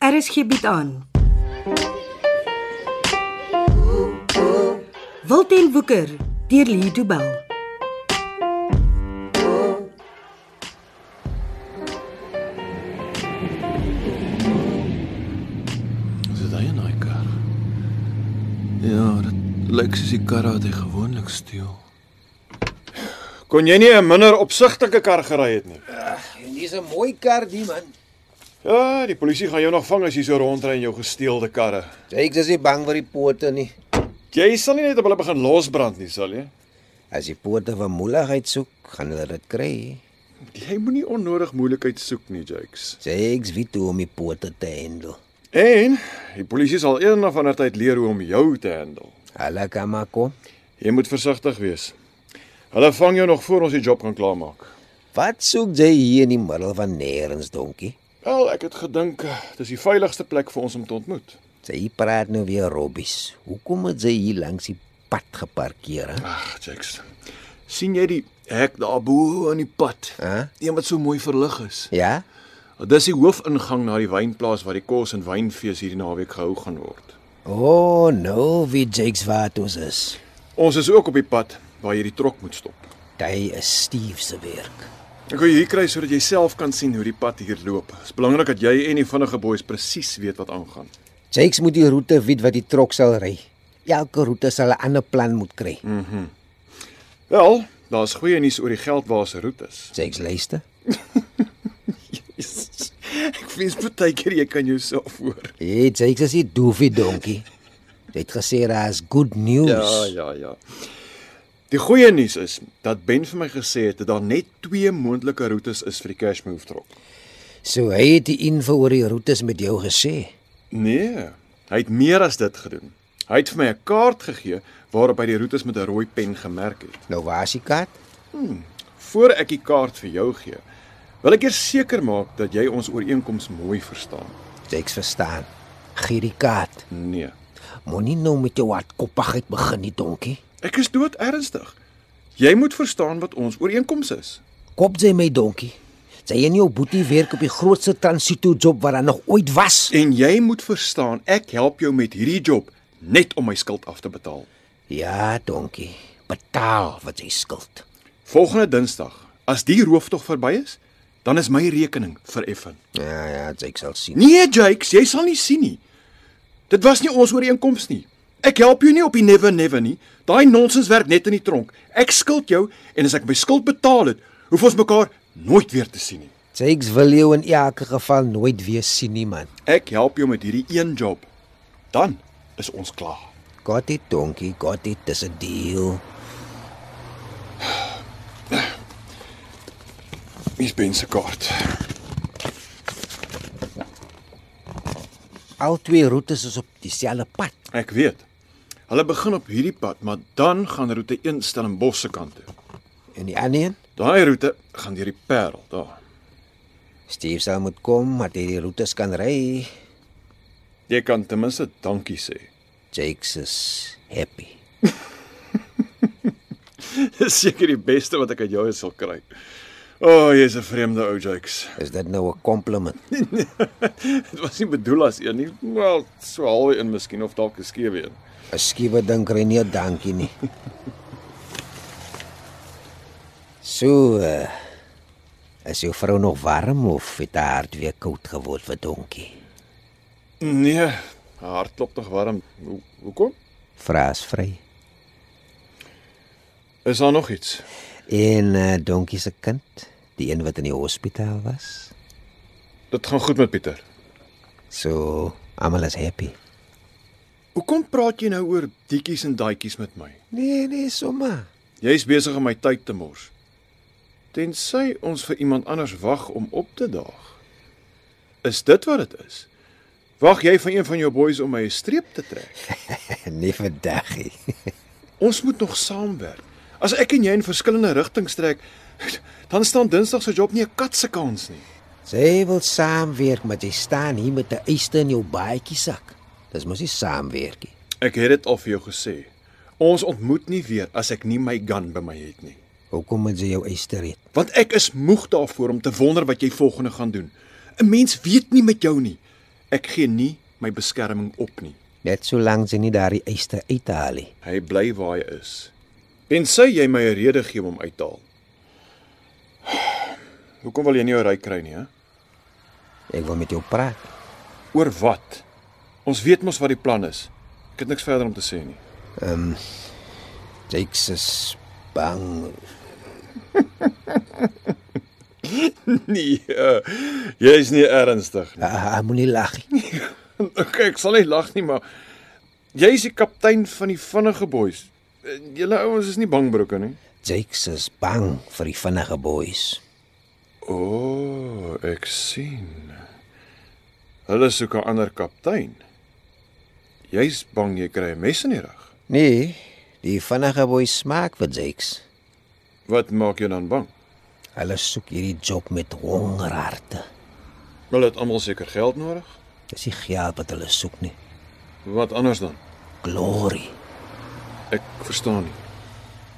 RSG bied Er aan. Wilten Woeker deur Lee Du Bell. Is dit hy in daai kar? Ja, dit lyk soos die kar wat hy gewoonlik steel. Kon jy nie 'n minder opsigtelike kar gery het nie? En dis 'n mooi kar die man. Ja, die polisie gaan jou nog vang as jy so rondry in jou gesteelde karre. Ek is nie bang vir die pote nie. Jy sal nie net op hulle begin losbrand nie, sal jy? As die pote van moeilikheid soek, gaan hulle dit kry. Jy moenie onnodig moeilikheid soek nie, Jakes. Sê ek weet hoe om die pote te handel. En die polisie sal eendag of ander tyd leer hoe om jou te handel. Hulle kan maar kom. Jy moet versigtig wees. Hulle vang jou nog voor ons die job kan klaarmaak. Wat soek jy hier in die middel van nêrens donkie? Wel, ek het gedink eh, dis die veiligigste plek vir ons om te ontmoet. Sy praat nou weer robbies. Hoekom het sy hier langs die pad geparkeer? hè? Ag, Jackson. sien jy die hek daarbo aan die pad? Hæ? Een wat so mooi verlig is. Ja? Dis die hoofingang na die wynplaas waar die kos en wynfees hierdie naweek gehou gaan word. O, oh, nou weet Jakes wat ons is. Ons is ook op die pad waar jy die trok moet stop. Hy is Steve se werk. Ek wil jou hier kry sodat jy self kan sien hoe die pad hier loop. Dit is belangrik dat jy en die vinnige boeis presies weet wat aangaan. Jakes moet die roete weet wat die trok sal ry. Elke roete sal 'n ander plan moet kry. Mm. Wel, daar's goeie nuus oor die geldwaas roetes. Jakes luister. Ek wens baie keer jy kan jouself hoor. Hey, Jakes is nie doofie donkie. Jy het gesê daar's good news. Ja, ja, ja. Die goeie nuus is dat Ben vir my gesê het dat daar net twee moontlike roetes is vir die cash move trok. So hy het die info oor die roetes met jou gesê. Nee, hy het meer as dit gedoen. Hy het vir my 'n kaart gegee waarop hy die roetes met 'n rooi pen gemerk het. Nou waar's die kaart? Voor ek die kaart vir jou gee, wil ek eers seker maak dat jy ons ooreenkoms mooi verstaan. Jakes verstaan. Gee die kaart. Nee. Moenie nou met jou hardkoppigheid begin nie, donkie. Ek is dood ernstig. Jy moet verstaan wat ons ooreenkoms is. Kop jy my donkie. Jy en jou boetie werk op die grootste transito job wat daar nog ooit was. En jy moet verstaan ek help jou met hierdie job net om my skuld af te betaal. Ja, donkie. Betaal wat jy skuld. Volgende Dinsdag, as die rooftog verby is, dan is my rekening vir Effen. Ja, ja, ek sal sien. Nee, Jakes, jy sal nie sien nie. Dit was nie ons ooreenkoms nie. Ek help jou nie op die never never nie. Daai nonsens werk net in die tronk. Ek skuld jou en as ek my skuld betaal het, hoef ons mekaar nooit weer te sien nie. Jakes wil jou in elke geval nooit weer sien nie, man. Ek help jou met hierdie een job. Dan is ons klaar. Got it, donkie, got it, dis 'n deal. Hier's Ben se kaart. Al twee roetes is op dieselfde pad. Ek weet. Hulle begin op hierdie pad, maar dan gaan roete 1 Stellenbosch se kant toe. En die ander een, Daai roete gaan deur die Parel daar. Steve sal moet kom, maar hy die roetes kan ry. Jy kan ten minste dankie sê. Jakes is happy. Dis seker die beste wat ek uit jou sal kry. O, oh, jy's 'n vreemde ou Jakes. Is dit nou 'n kompliment? Dit was nie bedoel as een nie. Wel, so halwe een miskien of dalk 'n skewe een. 'n Skiewe ding kry nie 'n dankie nie. So, uh, is jou vrou nog warm of het haar hart weer koud geword vir donkie? Nee, haar hart klop nog warm. Hoe hoekom? Vraas vry. Is daar nog iets? En uh, donkie se kind, die een wat in die hospitaal was. Dit gaan goed met Pieter. So, almal is happy. Hoekom praat jy nou oor dikkies en daadjies met my? Nee, nee, sommer. Jy's besig om my tyd te mors. Tensy ons vir iemand anders wag om op te daag. Is dit wat dit is? Wag jy van een van jou boeis om my 'n streep te trek? nie Nee, vandag nie. Ons moet nog saamwerk. As ek en jy in verskillende rigtings trek, dan staan Dinsdag se job nie 'n kat se kans nie. Sy wil saamwerk, maar jy staan hier met 'n eiste in jou baadjie sak. Dis mos nie saamwerk nie. Ek het dit al vir jou gesê. Ons ontmoet nie weer as ek nie my gun by my het nie. Hoekom moet jy jou eiste red? Want ek is moeg daarvoor om te wonder wat jy volgende gaan doen. 'n Mens weet nie met jou nie. Ek gee nie my beskerming op nie. Net solank sy nie daardie eiste uithaal nie. Hy bly waar hy is. Tensy jy my 'n rede gee om hom uit te haal. Hoekom wil jy nie jou ry kry nie, hè? Ek wil met jou praat. Oor wat? Ons weet mos wat die plan is. Ek het niks verder om te sê nie. Jakes is bang. Nee, uh, jy is nie ernstig nie. Ah, moenie lag nie. Okay, ek sal nie lag nie, maar jy is die kaptein van die vinnige boeis. Julle ouens is nie bangbroeke nie. Jakes is bang vir die vinnige boeis. O, oh, ek sien. Hulle soek 'n ander kaptein. Jy's bang jy kry 'n mes in die rug. Nee, die vinnige boeis smaak vir Jakes. Wat maak jou dan bang? Hulle soek hierdie job met hongerharte. Hulle het almal seker geld nodig. Dis nie geld wat hulle soek nie. Wat anders dan? Glory. Ek verstaan nie.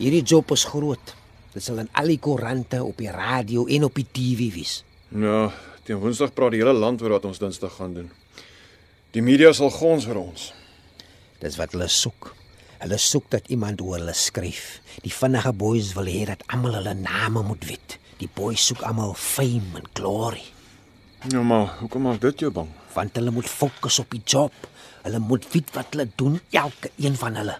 Hierdie job is groot. Dit sal in al die koerante, op die radio en op die TV wees. Ja, teen Woensdag praat die hele land oor wat ons Dinsdag gaan doen. Die media sal gons vir ons. Dis wat hulle soek. Hulle soek dat iemand oor hulle skryf. Die vinnige boys wil hê dat almal hulle name moet weet. Die boys soek almal fame en glory, Nou maar, hoekom maak dit jou bang? want hulle moet fokus op die job. Hulle moet weet wat hulle doen, elke een van hulle.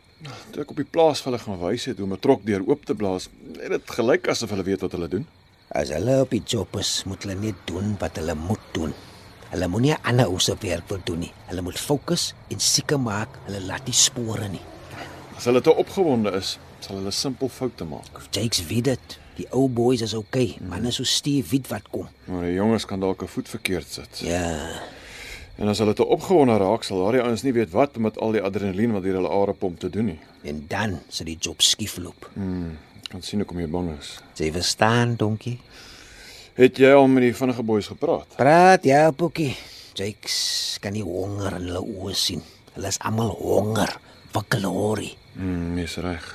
Toe ek op die plaas vir hulle gaan wys het hoe om 'n trok deur oop te blaas, het dit gelyk asof hulle weet wat hulle doen. As hulle op die job is, moet hulle net doen wat hulle moet doen. Hulle moenie aan ander ou se werk wil doen nie. Hulle moet fokus en seker maak hulle laat nie spore nie. As hulle te opgewonde is, sal hulle simpel foute maak. Jakes weet dit. Die ou boys is okay, manne so Steve weet wat kom. Maar die jonges kan dalk 'n voet verkeerd sit. Ja, En as hulle te opgewonde raak, sal daardie ouens nie weet wat om met al die adrenalien wat deur hulle are pomp te doen nie. en dan sal die job skiefloop. Ek kan sien hoekom jy bang is. Jy verstaan, donkie? Het jy al met die vinnige boeis gepraat? Praat ja, Boekie. Jakes kan nie honger in hulle oë sien. Hulle is almal honger vir glorie. Mm, Jy's reg.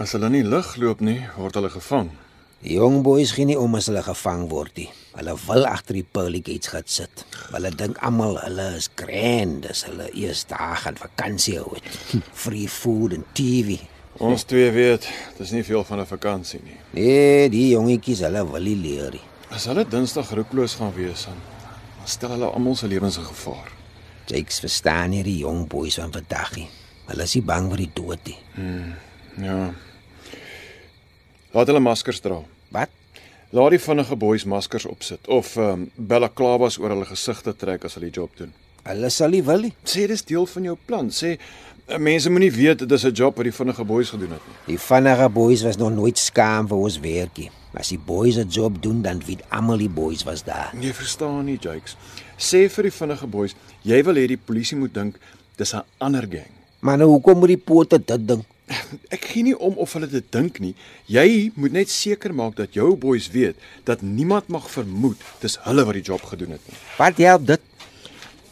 As hulle nie lig loop nie, word hulle gevang. Die jong boeis gee nie om as hulle gevang word nie. Hulle wil agter die pearly gates gaan sit. Hulle dink almal hulle is grand as hulle eers daar gaan vakansie hou het. Free food en TV. Ons twee weet, dis nie veel van 'n vakansie nie. Nee, die jongetjies hulle wil nie leer nie. As hulle Dinsdag roekloos gaan wees, dan dan stel hulle almal se lewens in gevaar. Jakes verstaan nie die jong boeis van vandag nie. Hulle is nie bang vir die dood nie. Ja. Laat hulle maskers dra. Wat? Laat die vinnige boeis maskers opsit of ehm um, balaklavas oor hulle gesigte trek as hulle die job doen. Hulle sal nie wil nie. Sê dis deel van jou plan. Sê eh, mense moenie weet dit is 'n job wat die vinnige boeis gedoen het nie. Die vinnige boeis was nog nooit skaam vir ons werkie. As die boeis 'n job doen, dan weet almal die boeis was daar. Jy verstaan nie, Jakes. Sê vir die vinnige boeis, jy wil hê die polisie moet dink dis 'n ander gang. Maar nou hoekom moet die pote dit ding? Ek gee nie om of hulle dit dink nie. Jy moet net seker maak dat jou boeis weet dat niemand mag vermoed dis hulle wat die job gedoen het nie. Wat help dit?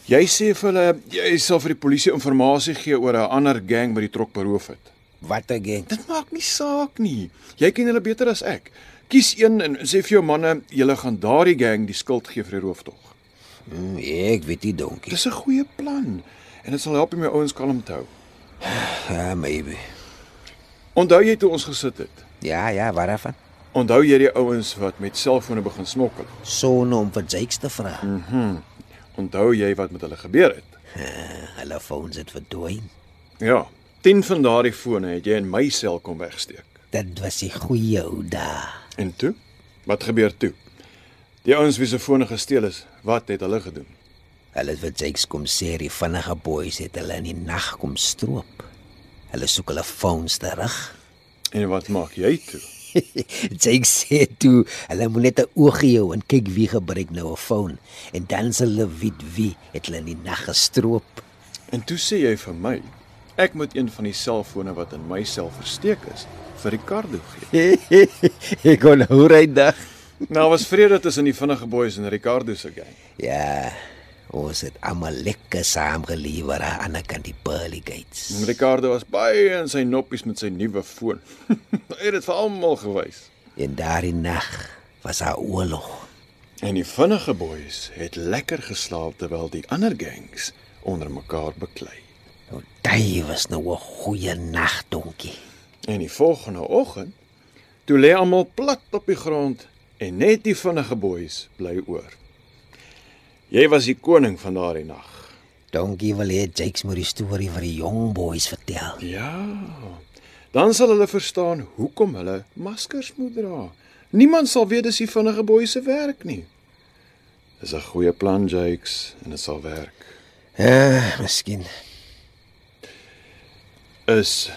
Jy sê vir hulle jy sal vir die polisie inligting gee oor 'n ander gang wat die trok beroof het. Wat again? Dit maak nie saak nie. Jy ken hulle beter as ek. Kies een en sê vir jou manne, julle gaan daardie gang die skuld gee vir die rooftog. Hmm, ek weet nie donkie. Dis 'n goeie plan en dit sal help om jou ouens kalm te hou. Ja, maybe. Onthou jy toe ons gesit het? Ja, ja, waarvan? Onthou jy die ouens wat met selfone begin smokkel? Sonne om vir Jakes te vra. Hmm. Onthou jy wat met hulle gebeur het? Hulle phones het verdwyn. Ja, 10 van daardie fone het jy in my sel kom wegsteek. Dit was die goeie ou dae. En toe? Wat gebeur toe? Die ouens wie se fone gesteel is, wat het hulle gedoen? Hulle het vir Jakes kom sê die vinnige boeis het hulle in die nag kom stroop. Hulle soek hulle phones terug. En wat maak jy toe? Jake sê toe, hulle moet net 'n oogie hou en kyk wie gebruik nou 'n foon en dan sal hulle weet wie het hulle in die nag gestroop. En toe sê jy vir my, ek moet een van die selfone wat in my sel versteek is vir Ricardo gee. Ek kon hoor hy dag. Nou was vrede tussen die vinnige boeis en Ricardo se gang. Ja, ons het almal lekker saam gelewer aan die ander kant die pearly gates. En Ricardo was baie in sy noppies met sy nuwe foon. hy het dit vir almal gewys. En daardie nag was haar oorlog. En die vinnige boeis het lekker geslaap terwyl die ander gangs onder mekaar beklei. Nou, daai was nou 'n goeie nag, donkie. En die volgende oggend toe lê almal plat op die grond en net die vinnige boeis bly oor. Jy was die koning van daardie nag. Donkie wil hê Jakes moet die storie vir die jong boys vertel. Ja. Dan sal hulle verstaan hoekom hulle maskers moet dra. Niemand sal weet dis die vinnige boeis se werk nie. Dis 'n goeie plan, Jakes, en dit sal werk. Ja, miskien. Is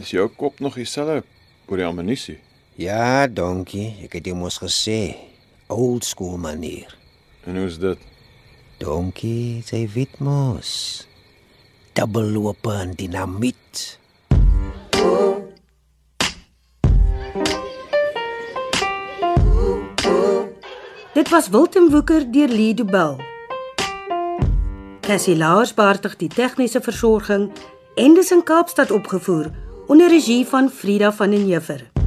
is jou kop nog dieselfde oor die ammunisie? Ja, donkie, ek het jou mos gesê, old school manier. En hoe's dit? Donkie, sy weet mos. Dubbellope en dinamiet. Dit was Wilten Woeker deur Lido Bell. Cassie Lars beheerdig die tegniese versorging en dis in Kaapstad opgevoer onder regie van Frida van den Heever.